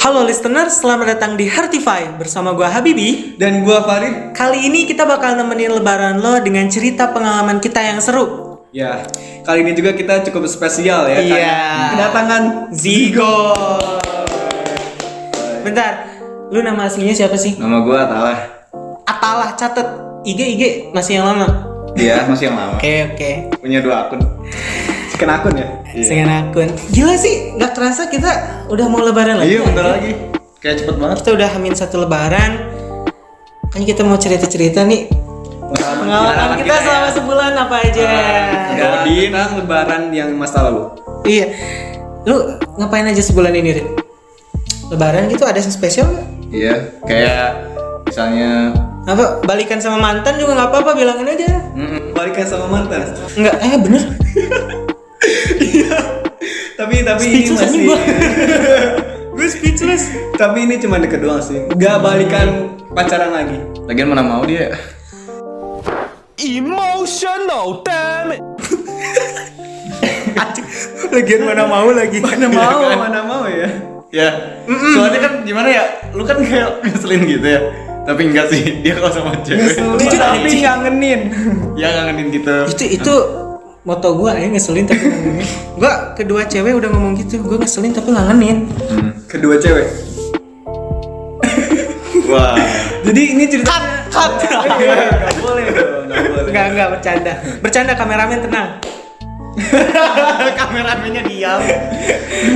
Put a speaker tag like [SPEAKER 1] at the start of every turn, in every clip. [SPEAKER 1] Halo listener, selamat datang di Heartify bersama gua Habibi.
[SPEAKER 2] Dan gua Farid.
[SPEAKER 1] Kali ini kita bakal nemenin lebaran lo dengan cerita pengalaman kita yang seru.
[SPEAKER 2] Ya, kali ini juga kita cukup spesial ya. karena
[SPEAKER 1] Iya.
[SPEAKER 2] Kedatangan
[SPEAKER 1] Zigo. Bentar, lu nama aslinya siapa sih?
[SPEAKER 3] Nama gua Talah.
[SPEAKER 1] Atalah catet IG IG masih yang lama.
[SPEAKER 3] Iya, masih yang lama.
[SPEAKER 1] Oke oke.
[SPEAKER 3] Punya dua akun.
[SPEAKER 2] Chicken akun ya.
[SPEAKER 3] Iya.
[SPEAKER 1] Dengan akun. Gila sih, nggak terasa kita udah mau lebaran lagi. ya?
[SPEAKER 3] Iya, bentar lagi. Kayak cepet banget.
[SPEAKER 1] Kita udah hamin satu lebaran. Kan kita mau cerita-cerita nih pengalaman kita, selama Iya. sebulan apa aja.
[SPEAKER 3] Ah,
[SPEAKER 2] Ya, Iya.
[SPEAKER 3] Iya.
[SPEAKER 2] kita lebaran yang masa lalu.
[SPEAKER 1] Iya. Lu ngapain aja sebulan ini, Rin? Lebaran gitu ada yang spesial nggak?
[SPEAKER 3] Iya, kayak misalnya
[SPEAKER 1] Apa balikan sama mantan juga nggak apa-apa bilangin aja.
[SPEAKER 2] Balikan sama mantan.
[SPEAKER 1] Enggak, eh bener.
[SPEAKER 2] Tapi tapi ini
[SPEAKER 1] Speechless anjing
[SPEAKER 2] masih
[SPEAKER 1] gua. gue speechless.
[SPEAKER 2] Tapi ini cuma deket doang sih. Gak balikan pacaran lagi.
[SPEAKER 3] Iya. lagian mana mau dia.
[SPEAKER 2] Lagian mana mau lagi. Mana
[SPEAKER 1] Iya
[SPEAKER 2] mau,
[SPEAKER 1] kan?
[SPEAKER 2] mana mau ya.
[SPEAKER 3] Iya kan? Ya. Soalnya kan gimana ya? Lu kan kayak ngeselin gitu ya. Tapi enggak sih, dia kalau sama cewek.
[SPEAKER 1] Jujur,
[SPEAKER 2] tapi
[SPEAKER 1] anjing.
[SPEAKER 2] ngangenin.
[SPEAKER 3] Ya ngangenin gitu.
[SPEAKER 1] Itu itu moto gue ya ngeselin tapi ngangenin. Gue kedua cewek udah ngomong gitu, gue ngeselin tapi ngangenin.
[SPEAKER 3] Hmm.
[SPEAKER 2] Kedua cewek.
[SPEAKER 3] Wah.
[SPEAKER 2] Jadi ini cerita.
[SPEAKER 1] Cut.
[SPEAKER 2] Iya, nggak boleh dong, nggak boleh.
[SPEAKER 1] Enggak enggak bercanda. Bercanda kameramen tenang.
[SPEAKER 3] Kameramennya diam.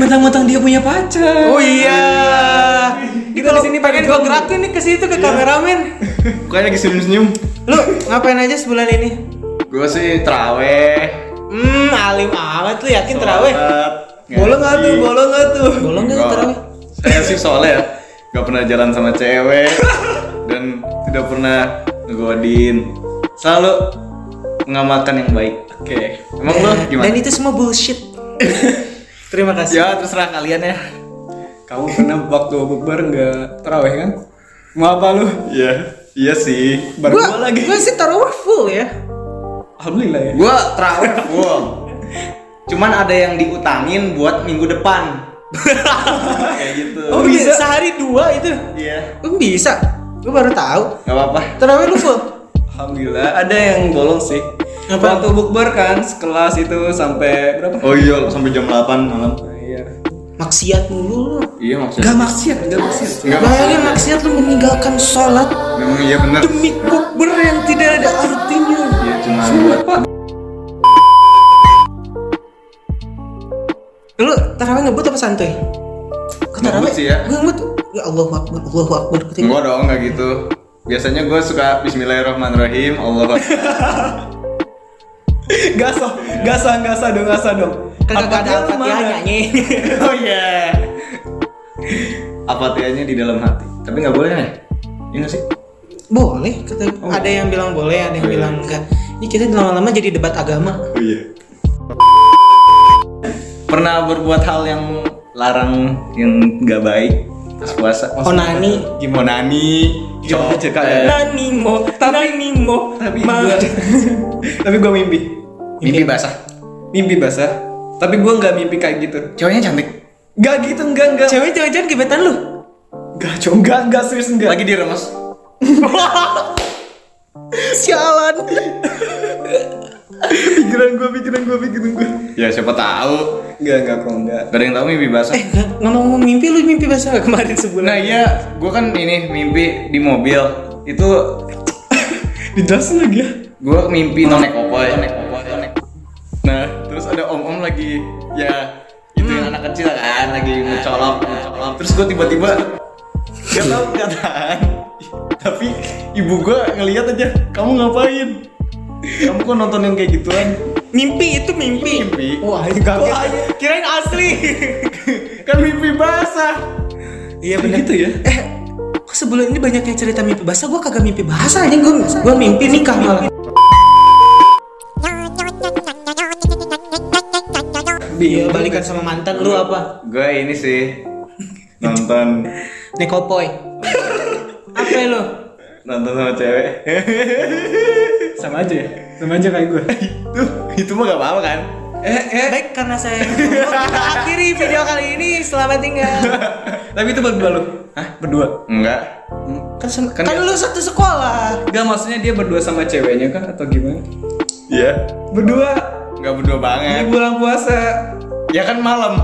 [SPEAKER 2] Mentang-mentang dia punya pacar.
[SPEAKER 1] Oh iya. Di
[SPEAKER 2] Kita
[SPEAKER 1] kalau
[SPEAKER 2] di sini
[SPEAKER 1] sini pengen gue gerakin nih ke situ ke kameramen.
[SPEAKER 3] Kayak lagi senyum-senyum.
[SPEAKER 1] Lu ngapain aja sebulan ini?
[SPEAKER 3] Gua sih traweh.
[SPEAKER 1] Hmm, alim amat lu yakin terawih?
[SPEAKER 3] sholat,
[SPEAKER 2] Bolong nggak tuh?
[SPEAKER 3] ngaji.
[SPEAKER 2] Bolong nggak tuh?
[SPEAKER 1] Bolong gak lu
[SPEAKER 3] Nggak.
[SPEAKER 1] terawih?
[SPEAKER 3] Saya sih soalnya ya Gak pernah jalan sama cewek Dan tidak pernah ngegodin Selalu mengamalkan yang baik Oke Emang lo
[SPEAKER 1] Eh,
[SPEAKER 3] gimana?
[SPEAKER 1] Dan itu semua bullshit. Terima kasih.
[SPEAKER 3] Ya terserah kalian ya
[SPEAKER 2] Kamu pernah waktu bukber nggak terawih kan? Mau apa lu?
[SPEAKER 3] Iya Iya sih
[SPEAKER 2] Baru gua lagi.
[SPEAKER 1] Gua sih terawih full ya.
[SPEAKER 2] Alhamdulillah ya.
[SPEAKER 3] Gue terawih full Cuman ada yang diutangin buat minggu depan Kayak gitu
[SPEAKER 1] Oh bisa? Sehari dua itu.
[SPEAKER 3] Iya
[SPEAKER 1] Lu bisa. Gua baru tahu.
[SPEAKER 3] Gak apa-apa
[SPEAKER 1] Terawih lu full.
[SPEAKER 2] Alhamdulillah. Ada yang bolong sih.
[SPEAKER 1] Apa?
[SPEAKER 2] Waktu bukber kan sekelas itu sampai berapa?
[SPEAKER 3] Oh iya sampai jam 8 malam
[SPEAKER 2] Nah, iya.
[SPEAKER 1] Maksiat mulu lu.
[SPEAKER 3] Iya
[SPEAKER 2] Gak
[SPEAKER 3] maksudnya
[SPEAKER 2] maksiat, gak maksiat.
[SPEAKER 3] Nggak
[SPEAKER 1] Bayangin maksiat lu meninggalkan sholat
[SPEAKER 3] Memang iya bener
[SPEAKER 1] demi bukber yang tidak ada artinya.
[SPEAKER 3] Iya cuma buat
[SPEAKER 1] Lu tarawih ngebut apa santuy? Kok
[SPEAKER 3] Ngebut sih ya.
[SPEAKER 1] Gue ngebut. Ya Allah Akbar, Allahu Akbar. Ketika-
[SPEAKER 3] Enggak dong, enggak gitu. Biasanya gue suka Bismillahirrahmanirrahim, Allah.
[SPEAKER 2] Gak sah, gak sah, gak sah dong, gak sah dong.
[SPEAKER 1] Kagak
[SPEAKER 2] Apa
[SPEAKER 1] ada
[SPEAKER 2] dia lu
[SPEAKER 1] Al-Fatihah
[SPEAKER 2] mana?
[SPEAKER 1] nyanyi.
[SPEAKER 3] oh iya. Apatianya di dalam hati. Tapi nggak boleh ya? Iya nggak sih?
[SPEAKER 1] boleh, kata ada yang bilang boleh, ada yang
[SPEAKER 3] Oh, iya.
[SPEAKER 1] bilang enggak. Ini kita lama-lama jadi debat agama.
[SPEAKER 3] Oh iya. Pernah berbuat hal yang larang yang nggak baik pas puasa.
[SPEAKER 1] Onani. Iya.
[SPEAKER 3] Gimana nih?
[SPEAKER 2] Jangan aja, Kak, ya.
[SPEAKER 3] Coklat.
[SPEAKER 1] Nanimo, nanimo,
[SPEAKER 2] Tapi
[SPEAKER 1] ma-
[SPEAKER 2] gua, tapi gua mimpi,
[SPEAKER 3] Mimpi basah.
[SPEAKER 2] mimpi basah. Tapi gua nggak mimpi kayak gitu.
[SPEAKER 3] Cowoknya cantik.
[SPEAKER 2] Gak gitu, enggak, enggak.
[SPEAKER 1] Cewek jangan-jangan gebetan lu.
[SPEAKER 2] Gak, cowok, enggak, enggak, serius enggak.
[SPEAKER 3] Lagi diremes.
[SPEAKER 1] Sialan.
[SPEAKER 2] pikiran gua, pikiran gua, pikiran gua.
[SPEAKER 3] Ya siapa tahu.
[SPEAKER 2] Enggak, enggak, kok enggak.
[SPEAKER 3] Gak ada yang tahu mimpi basah.
[SPEAKER 1] Eh, nggak- ngomong-ngomong mimpi lu mimpi bahasa nggak kemarin
[SPEAKER 3] Nah
[SPEAKER 1] sebulan?
[SPEAKER 3] iya, gue kan ini mimpi di mobil itu
[SPEAKER 2] Dijelasin lagi ya.
[SPEAKER 3] gue mimpi non naik opoy. Nah terus ada om om lagi ya itu anak kecil kan lagi ngecolok ngecolok. Terus gue tiba-tiba gak tau gak tahan. Tapi ibu gue ngelihat aja kamu ngapain? Kamu kok nonton yang kayak gituan?
[SPEAKER 1] Mimpi itu mimpi.
[SPEAKER 3] Mimpi.
[SPEAKER 1] Wah, iya. ini kaget. Kirain asli.
[SPEAKER 3] iya. Kan mimpi basah.
[SPEAKER 1] Iya benar.
[SPEAKER 2] Gitu ya.
[SPEAKER 1] Eh, kok sebulan ini banyak yang cerita mimpi basah? Gua kagak mimpi basah aja. Gua, gua mimpi nikah malah.
[SPEAKER 2] Bingung.
[SPEAKER 1] Iya, balikan sama mantan lu apa?
[SPEAKER 3] Gue ini sih nonton
[SPEAKER 1] Nekopoy. Apa lo?
[SPEAKER 3] nonton sama cewek
[SPEAKER 2] sama aja ya sama aja kayak gue
[SPEAKER 3] itu itu mah gak apa-apa kan
[SPEAKER 2] eh eh
[SPEAKER 1] Baik karena saya kita akhiri video kali ini. Selamat tinggal.
[SPEAKER 2] tapi itu berdua lu hah berdua
[SPEAKER 3] enggak
[SPEAKER 1] Kan, sem-
[SPEAKER 3] Kan
[SPEAKER 1] kan lu satu sekolah.
[SPEAKER 2] Gak maksudnya dia berdua sama ceweknya kah atau gimana
[SPEAKER 3] iya
[SPEAKER 2] berdua
[SPEAKER 3] enggak berdua
[SPEAKER 2] di
[SPEAKER 3] banget
[SPEAKER 2] bulan puasa
[SPEAKER 3] ya kan malam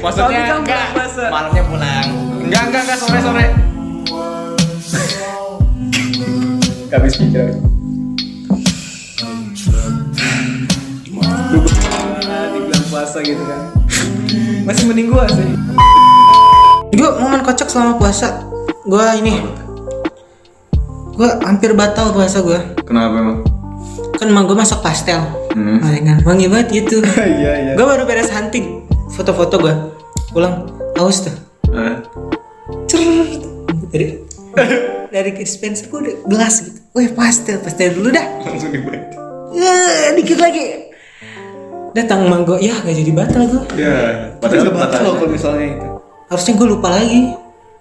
[SPEAKER 3] maksudnya
[SPEAKER 2] Tapi kan
[SPEAKER 3] enggak
[SPEAKER 2] pulang puasa.
[SPEAKER 3] malamnya pulang enggak enggak enggak sore sore
[SPEAKER 2] gak habis pikir Lu ber- di bulan puasa gitu kan masih mending gua sih
[SPEAKER 1] Gue momen kocak selama puasa. Gue ini. Gue hampir batal puasa gue.
[SPEAKER 3] kenapa emang
[SPEAKER 1] Kan emang gue masak pastel.
[SPEAKER 3] Hmm.
[SPEAKER 1] Malingan wangi banget gitu.
[SPEAKER 2] iya iya
[SPEAKER 1] gue baru beres hunting foto-foto gue pulang haus tuh
[SPEAKER 3] Eh,
[SPEAKER 1] Cerut. dari dari dispenser gue udah gelas gitu weh pastel pastel dulu dah
[SPEAKER 3] langsung dibuat
[SPEAKER 1] Eh, dikit lagi datang manggo ya gak jadi batal gue
[SPEAKER 2] Iya.
[SPEAKER 3] ya
[SPEAKER 2] padahal
[SPEAKER 3] batal.
[SPEAKER 2] batal kalau misalnya itu
[SPEAKER 1] harusnya gue lupa lagi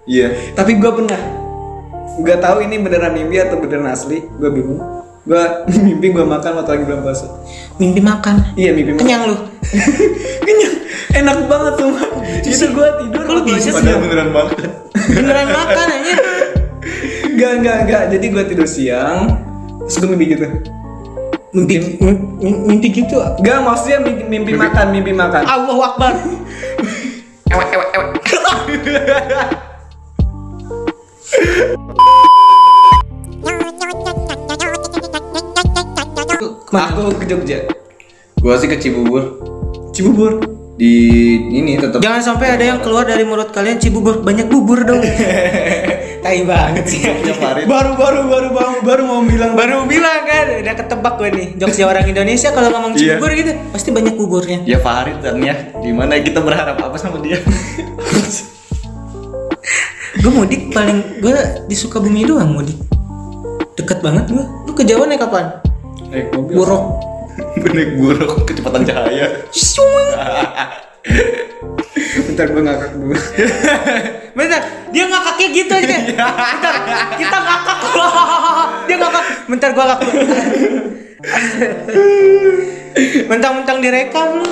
[SPEAKER 3] iya
[SPEAKER 2] tapi gua pernah gak tahu ini beneran mimpi atau beneran asli gua bingung gua mimpi gua makan waktu lagi bulan puasa
[SPEAKER 1] mimpi makan
[SPEAKER 2] iya mimpi makan
[SPEAKER 1] kenyang lu
[SPEAKER 2] kenyang enak banget semua itu gua tidur
[SPEAKER 1] Kok lu
[SPEAKER 2] waktu lagi
[SPEAKER 1] bisa sih?
[SPEAKER 2] makan.
[SPEAKER 3] padahal beneran banget
[SPEAKER 1] beneran makan aja
[SPEAKER 2] Enggak, enggak, enggak. Jadi gue tidur siang, terus gue mimpi gitu.
[SPEAKER 1] mimpi mim- mim- mimpi gitu
[SPEAKER 2] Enggak, maksudnya mimpi, mimpi makan, mimpi makan.
[SPEAKER 1] Allahu Akbar
[SPEAKER 2] Aku ke Jogja.
[SPEAKER 3] gua sih ke Cibubur
[SPEAKER 2] Cibubur.
[SPEAKER 3] di ini tetap
[SPEAKER 1] jangan sampai ada yang keluar dari mulut kalian cibubur banyak bubur dong tai banget sih
[SPEAKER 3] Iya, Farid
[SPEAKER 2] Baru baru baru baru baru mau bilang
[SPEAKER 1] baru bilang kan udah ketebak gue nih jokesnya orang Indonesia kalau ngomong
[SPEAKER 3] Iya.
[SPEAKER 1] cibubur gitu pasti banyak buburnya
[SPEAKER 3] ya Farid dan ya gimana kita berharap apa sama dia
[SPEAKER 1] gue mudik paling gue di Sukabumi doang mudik deket banget gue lu ke Jawa naik kapan
[SPEAKER 2] naik Eh, mobil.
[SPEAKER 1] buruk
[SPEAKER 3] benek buruk kecepatan cahaya
[SPEAKER 2] Bentar gue ngakak dulu.
[SPEAKER 1] Bentar, dia ngakaknya gitu aja. Bentar, kita ngakak loh. Dia ngakak. Bentar gua ngakak. Mentang-mentang direkam lu.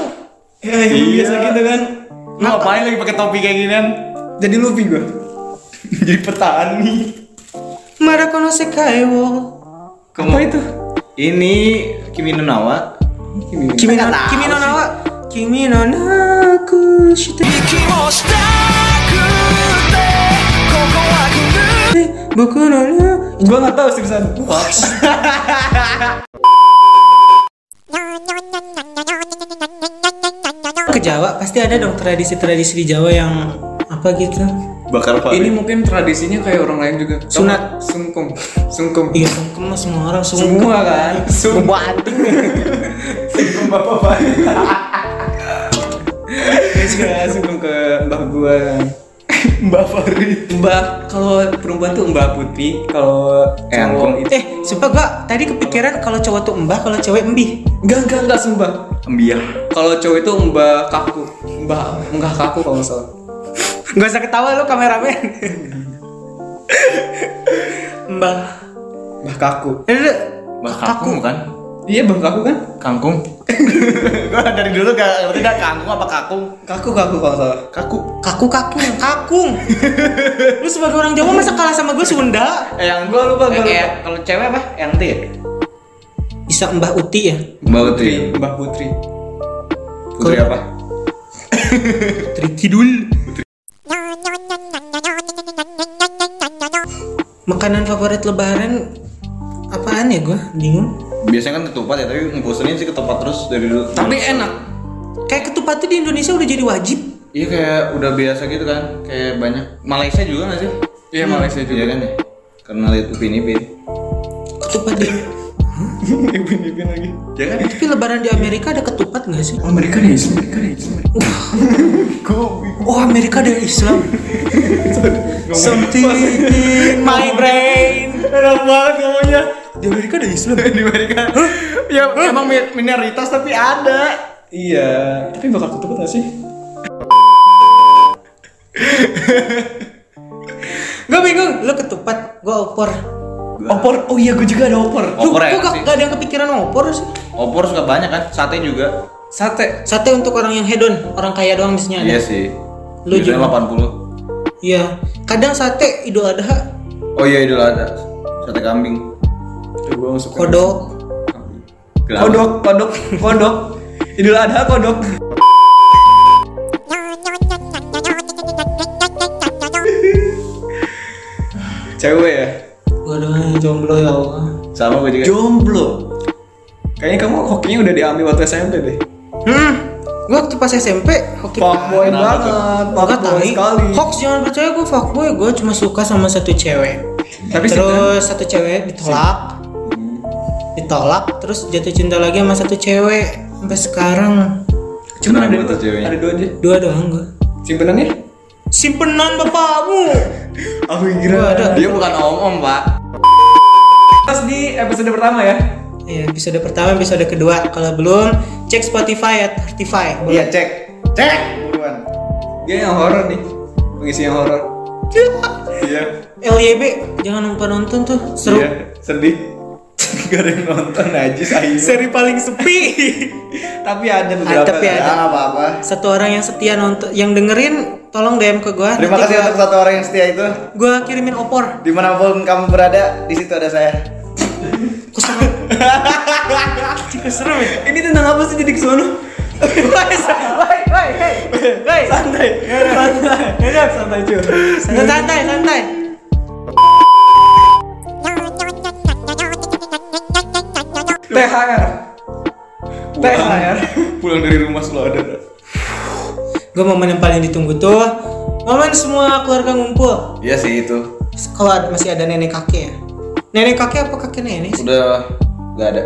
[SPEAKER 2] ya, emang biasa gitu kan.
[SPEAKER 3] Iya. lu ngapain lagi pakai topi kayak ginian
[SPEAKER 2] Jadi Luffy gue.
[SPEAKER 3] jadi petani
[SPEAKER 1] Marakono sekai wo.
[SPEAKER 3] Kamu, itu ini Kimi no Nawa
[SPEAKER 1] Kimi no Kimi no nawa. Kimi no naku shite. Boku no na.
[SPEAKER 2] Gue nggak tahu sih pesan.
[SPEAKER 1] kan Ke Jawa pasti ada dong tradisi-tradisi di Jawa yang apa gitu.
[SPEAKER 3] bakar
[SPEAKER 2] Ini
[SPEAKER 3] Farid
[SPEAKER 2] mungkin tradisinya kayak orang lain juga. Tau
[SPEAKER 1] Sunat.
[SPEAKER 2] nggak? sungkum, sungkum.
[SPEAKER 1] Iya, sungkem lah semua orang sungkem.
[SPEAKER 2] Semua kan. Sungkum. sungkum bapak bapak. Iya, sungkum ke mbah gua.
[SPEAKER 3] Mbak Farid
[SPEAKER 2] Mbah, kalau perempuan tuh mbah putih, kalau
[SPEAKER 3] Eh, ampun.
[SPEAKER 2] cowok itu
[SPEAKER 1] Eh, sumpah gua tadi kepikiran kalau cowok tuh mbah, kalau cewek embih.
[SPEAKER 2] enggak enggak enggak sembah.
[SPEAKER 3] Ambia
[SPEAKER 2] Kalau cowok itu mbah kaku, mbah mbah kaku kalau nggak salah.
[SPEAKER 1] Gak usah ketawa lu kameramen. mbah.
[SPEAKER 2] Mbah kaku.
[SPEAKER 1] Eh, lu-
[SPEAKER 3] Mbak Kangkung bukan?
[SPEAKER 2] Iya mbah kaku kan?
[SPEAKER 3] kan? Kangkung Gua dari dulu gak ngerti dah Kangkung apa Kakung
[SPEAKER 2] Kaku kaku kalau nggak salah.
[SPEAKER 3] Kaku
[SPEAKER 1] kaku kaku kakung. lu sebagai orang Jawa masa kalah sama gue Sunda?
[SPEAKER 3] Eh yang
[SPEAKER 2] Gua lupa, gua lupa.
[SPEAKER 3] Kalau cewek apa? Yang T ya?
[SPEAKER 1] Bisa Mbah Uti ya?
[SPEAKER 3] Mbak Uti
[SPEAKER 2] Putri, mbah putri.
[SPEAKER 3] Putri apa?
[SPEAKER 1] Putri Kidul. Makanan favorit lebaran apaan ya gue? Bingung.
[SPEAKER 3] Biasanya kan ketupat ya, tapi ngebosenin sih ketupat terus dari dulu
[SPEAKER 2] Tapi enak.
[SPEAKER 1] Kayak ketupat tuh di Indonesia udah jadi wajib.
[SPEAKER 3] Iya kayak udah biasa gitu kan, kayak banyak Malaysia juga gak sih?
[SPEAKER 2] Iya Malaysia
[SPEAKER 3] Iya kan ya? Karena lihat Upin Ipin
[SPEAKER 1] Ketupat di
[SPEAKER 2] Ibu ibu lagi.
[SPEAKER 3] Iya kan?
[SPEAKER 1] Tapi lebaran di Amerika ada ketupat nggak sih?
[SPEAKER 2] Oh mereka nih, mereka nih.
[SPEAKER 1] Oh Amerika ada Islam. Something in my brain.
[SPEAKER 3] Enak banget ngomongnya
[SPEAKER 1] Di Amerika ada Islam.
[SPEAKER 3] Di Amerika Ya emang mi- minoritas tapi ada
[SPEAKER 2] Iya. Tapi bakal ketupat nggak sih?
[SPEAKER 1] cepat gue opor
[SPEAKER 2] Opor, oh iya gue juga ada opor.
[SPEAKER 3] Opor
[SPEAKER 1] Lu-
[SPEAKER 3] enak
[SPEAKER 1] lu gak,
[SPEAKER 3] sih.
[SPEAKER 1] gak ada yang kepikiran opor sih
[SPEAKER 3] Opor suka banyak kan, sate juga.
[SPEAKER 2] Sate.
[SPEAKER 1] sate untuk orang yang hedon orang kaya doang biasanya ada
[SPEAKER 3] Iya sih.
[SPEAKER 1] Lu
[SPEAKER 3] Biasanya
[SPEAKER 1] juga.
[SPEAKER 3] 80.
[SPEAKER 1] iya kadang sate idul adha
[SPEAKER 3] Oh iya idul ada sate kambing.
[SPEAKER 2] Tuh gue masuk.
[SPEAKER 1] kodok
[SPEAKER 3] Kelapa.
[SPEAKER 2] Kodok, kodok, kodok. Idul Adha kodok. Cewek ya.
[SPEAKER 1] gue doang yang jomblo ya allah
[SPEAKER 3] Sama gue juga.
[SPEAKER 2] Jomblo. Kayaknya kamu hokinya udah diambil waktu SMP deh.
[SPEAKER 1] hmm gue waktu pas SMP hoki
[SPEAKER 2] Fuckboy
[SPEAKER 3] Kenapa
[SPEAKER 2] banget,
[SPEAKER 1] Gak
[SPEAKER 2] fuckboy
[SPEAKER 1] tahu
[SPEAKER 2] sekali.
[SPEAKER 1] Hoax jangan percaya gue fuckboy Gue cuma suka sama satu cewek
[SPEAKER 2] Tapi
[SPEAKER 1] Terus
[SPEAKER 2] sebenarnya-
[SPEAKER 1] satu cewek ditolak Ditolak Terus jatuh cinta lagi sama satu cewek Sampai sekarang
[SPEAKER 3] Kenapa
[SPEAKER 2] Cuma ada
[SPEAKER 3] tuh
[SPEAKER 2] dua,
[SPEAKER 3] ceweknya?
[SPEAKER 2] ada ya? dua aja.
[SPEAKER 1] Dua doang gue
[SPEAKER 2] Simpenannya?
[SPEAKER 1] Simpenan bapakmu
[SPEAKER 2] Aku
[SPEAKER 1] Gua ada.
[SPEAKER 3] Dia bukan om-om, Pak.
[SPEAKER 2] Pas di episode pertama ya.
[SPEAKER 1] Ya episode pertama episode kedua Kalau belum cek Spotify at Spotify
[SPEAKER 3] Iya, cek. Cek buruan.
[SPEAKER 2] Dia yang horor nih. Pengisi yang horor. Iya.
[SPEAKER 1] LYB Jangan lupa nonton tuh Seru
[SPEAKER 2] Iya, sedih. Gak ada yang nonton aja saya.
[SPEAKER 1] Seri paling sepi
[SPEAKER 2] Tapi ada beberapa.
[SPEAKER 1] Tapi
[SPEAKER 2] kan?
[SPEAKER 1] ada
[SPEAKER 3] apa-apa.
[SPEAKER 1] Satu orang yang setia nonton Yang dengerin Tolong DM ke gue
[SPEAKER 3] Terima kasih untuk satu orang yang setia itu.
[SPEAKER 1] Gue kirimin opor
[SPEAKER 3] Dimanapun kamu berada, di situ ada saya.
[SPEAKER 1] Kok serem? Cik, serem ya?
[SPEAKER 2] Ini tentang apa sih jadi kesono?
[SPEAKER 1] Woi, woi, hei, hei.
[SPEAKER 2] Santai. Santai.
[SPEAKER 3] Iya,
[SPEAKER 2] Santai cuy.
[SPEAKER 1] Santai, santai, santai.
[SPEAKER 2] THR. THR.
[SPEAKER 3] Pulang dari rumah selalu ada.
[SPEAKER 1] Gue momen yang paling ditunggu tuh momen semua keluarga ngumpul.
[SPEAKER 3] Iya sih itu.
[SPEAKER 1] Kalau ada- masih ada nenek kakek ya. Nenek kakek apa kakek nenek? sih?
[SPEAKER 3] Udah nggak ada.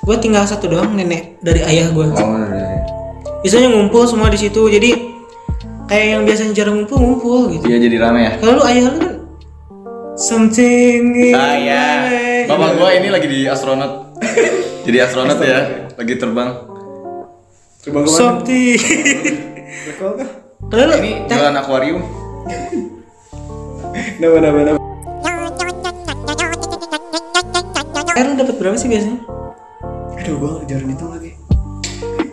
[SPEAKER 1] Gue tinggal satu doang nenek dari ayah gue.
[SPEAKER 3] Oh, bener, bener.
[SPEAKER 1] Biasanya ngumpul semua di situ. Jadi kayak yang biasanya jarang ngumpul ngumpul gitu.
[SPEAKER 3] Dia jadi rame ya.
[SPEAKER 1] Kalau lu ayah lu kan something
[SPEAKER 2] Iya.
[SPEAKER 1] in
[SPEAKER 3] Ah ya.
[SPEAKER 1] my way.
[SPEAKER 3] Bapak gua ini lagi di astronot. jadi astronot ya, lagi terbang.
[SPEAKER 2] Coba gue
[SPEAKER 1] Something. Kalau lu
[SPEAKER 3] Ini jualan akuarium.
[SPEAKER 2] Nama nama nama.
[SPEAKER 1] Air lu dapat berapa sih biasanya?
[SPEAKER 2] Aduh gue jarang ngitung lagi.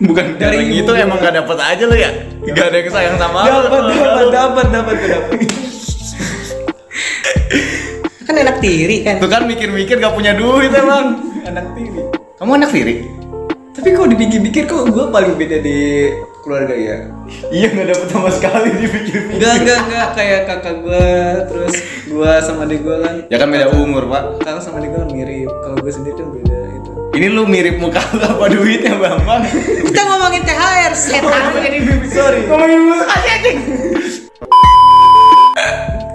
[SPEAKER 3] Bukan
[SPEAKER 2] Dari
[SPEAKER 3] dari itu
[SPEAKER 2] Google.
[SPEAKER 3] emang gak dapet aja lo ya? Gak ada yang sayang sama lu.
[SPEAKER 2] Dapat dapat dapat dapat gua dapat.
[SPEAKER 1] Kan enak tiri kan.
[SPEAKER 3] Tuh kan mikir-mikir gak punya duit emang.
[SPEAKER 2] Anak tiri.
[SPEAKER 3] Kamu anak tiri?
[SPEAKER 2] Tapi kalau dipikir-pikir kok gue paling beda di keluarga ya.
[SPEAKER 3] Iya gak dapet sama sekali dipikir-pikir.
[SPEAKER 2] Enggak enggak enggak kayak kakak gue terus gue sama adik gue kan.
[SPEAKER 3] Ya kan beda umur pak.
[SPEAKER 2] Kakak sama adik gue kan mirip. Kalau gue sendiri tuh beda gitu. itu.
[SPEAKER 3] Ini lu mirip muka lu apa duitnya bang bang?
[SPEAKER 1] Kita ngomongin THR setan.
[SPEAKER 2] Sorry.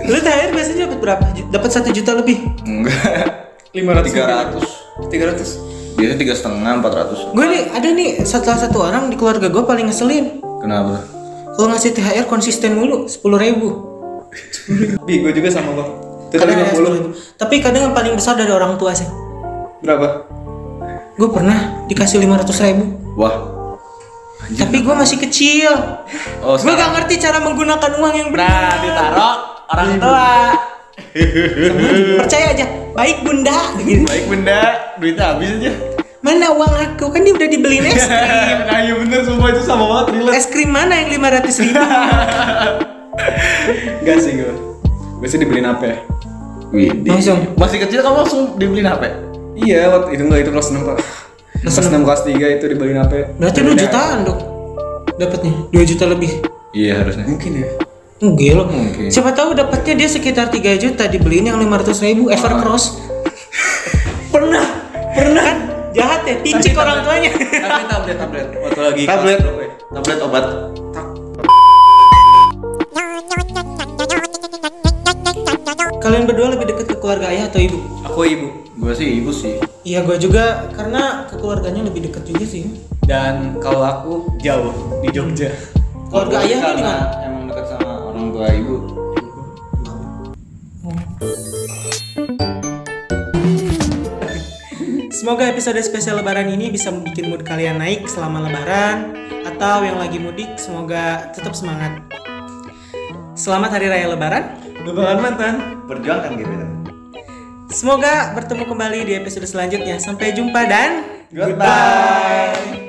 [SPEAKER 1] Lu THR biasanya dapat berapa? Ju- Dapat satu juta lebih.
[SPEAKER 3] Enggak.
[SPEAKER 2] Lima
[SPEAKER 3] Tiga ratus.
[SPEAKER 2] Tiga ratus.
[SPEAKER 3] Biasanya tiga setengah empat ratus.
[SPEAKER 1] Gue nih ada nih salah satu orang di keluarga gue paling ngeselin.
[SPEAKER 3] Kenapa?
[SPEAKER 1] Kalau ngasih THR konsisten mulu sepuluh ribu.
[SPEAKER 2] Bi gue juga sama lo. Itu tadi lima puluh.
[SPEAKER 1] Tapi kadang yang paling besar dari orang tua sih.
[SPEAKER 2] Berapa?
[SPEAKER 1] Gue pernah dikasih lima ratus ribu.
[SPEAKER 3] Wah.
[SPEAKER 1] Tapi gue masih kecil.
[SPEAKER 3] Oh,
[SPEAKER 1] gue gak ngerti cara menggunakan uang yang benar.
[SPEAKER 3] Nah ditaruh orang
[SPEAKER 2] Nah.
[SPEAKER 3] tua.
[SPEAKER 1] Percaya aja. Baik bunda. Gitu.
[SPEAKER 3] Baik benda, duitnya habis aja.
[SPEAKER 1] Mana uang aku? Kan dia udah dibeliin es krim.
[SPEAKER 3] nah iya Iya, bener semua itu sama banget relate.
[SPEAKER 1] Es krim mana yang lima ratus ribu?
[SPEAKER 2] Enggak sih gue. Gue sih dibeliin apa ya?
[SPEAKER 3] Widih.
[SPEAKER 1] Langsung.
[SPEAKER 3] Masih kecil kamu langsung dibeliin HP?
[SPEAKER 2] Iya, waktu itu enggak itu kelas 6 pak.
[SPEAKER 1] Kelas
[SPEAKER 2] Kelas 6 kelas 3 itu dibeliin apa? ya?
[SPEAKER 1] Berarti lu jutaan dok. Dapatnya dua juta lebih.
[SPEAKER 3] Iya harusnya.
[SPEAKER 2] Mungkin ya.
[SPEAKER 1] Enggak loh.
[SPEAKER 3] Mungkin.
[SPEAKER 1] Siapa tahu dapatnya dia sekitar 3 juta dibeliin yang 500 ribu Evercross. pernah, pernah. Kan jahat ya, picik orang tuanya.
[SPEAKER 3] Kan
[SPEAKER 2] Tapi tablet tablet. Waktu lagi
[SPEAKER 3] Tablet, tablet obat.
[SPEAKER 1] Kalian berdua lebih dekat ke keluarga ayah atau ibu?
[SPEAKER 2] Aku ibu
[SPEAKER 3] Gua sih ibu sih.
[SPEAKER 1] Iya, gue juga karena ke keluarganya lebih dekat juga sih.
[SPEAKER 2] dan kalau aku jauh di Jogja.
[SPEAKER 1] Keluarga
[SPEAKER 3] Oh, Gua
[SPEAKER 1] ayah tuh
[SPEAKER 3] karena
[SPEAKER 1] di mana?
[SPEAKER 3] Emang dekat sama orang tua ibu.
[SPEAKER 1] Semoga episode spesial lebaran ini bisa bikin mood kalian naik selama lebaran atau yang lagi mudik semoga tetap semangat. Selamat hari raya lebaran.
[SPEAKER 2] Udah bakal mantan.
[SPEAKER 3] Perjuangkan gebetan.
[SPEAKER 1] Semoga bertemu kembali di episode selanjutnya. Sampai jumpa dan
[SPEAKER 2] Goodbye.